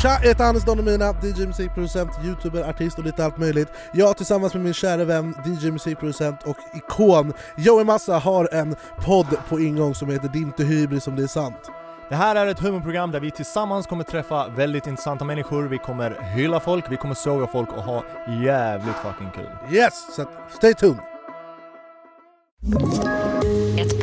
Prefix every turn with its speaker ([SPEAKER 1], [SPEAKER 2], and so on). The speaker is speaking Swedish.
[SPEAKER 1] Tja! Jag heter Hannes Don Demina, DJ, musikproducent, youtuber, artist och lite allt möjligt. Jag tillsammans med min kära vän, DJ, musikproducent och ikon Joey Massa har en podd på ingång som heter Det är inte hybris om det är sant.
[SPEAKER 2] Det här är ett humorprogram där vi tillsammans kommer träffa väldigt intressanta människor, vi kommer hylla folk, vi kommer såga folk och ha jävligt fucking kul.
[SPEAKER 1] Yes! Så att stay tuned!
[SPEAKER 3] Ett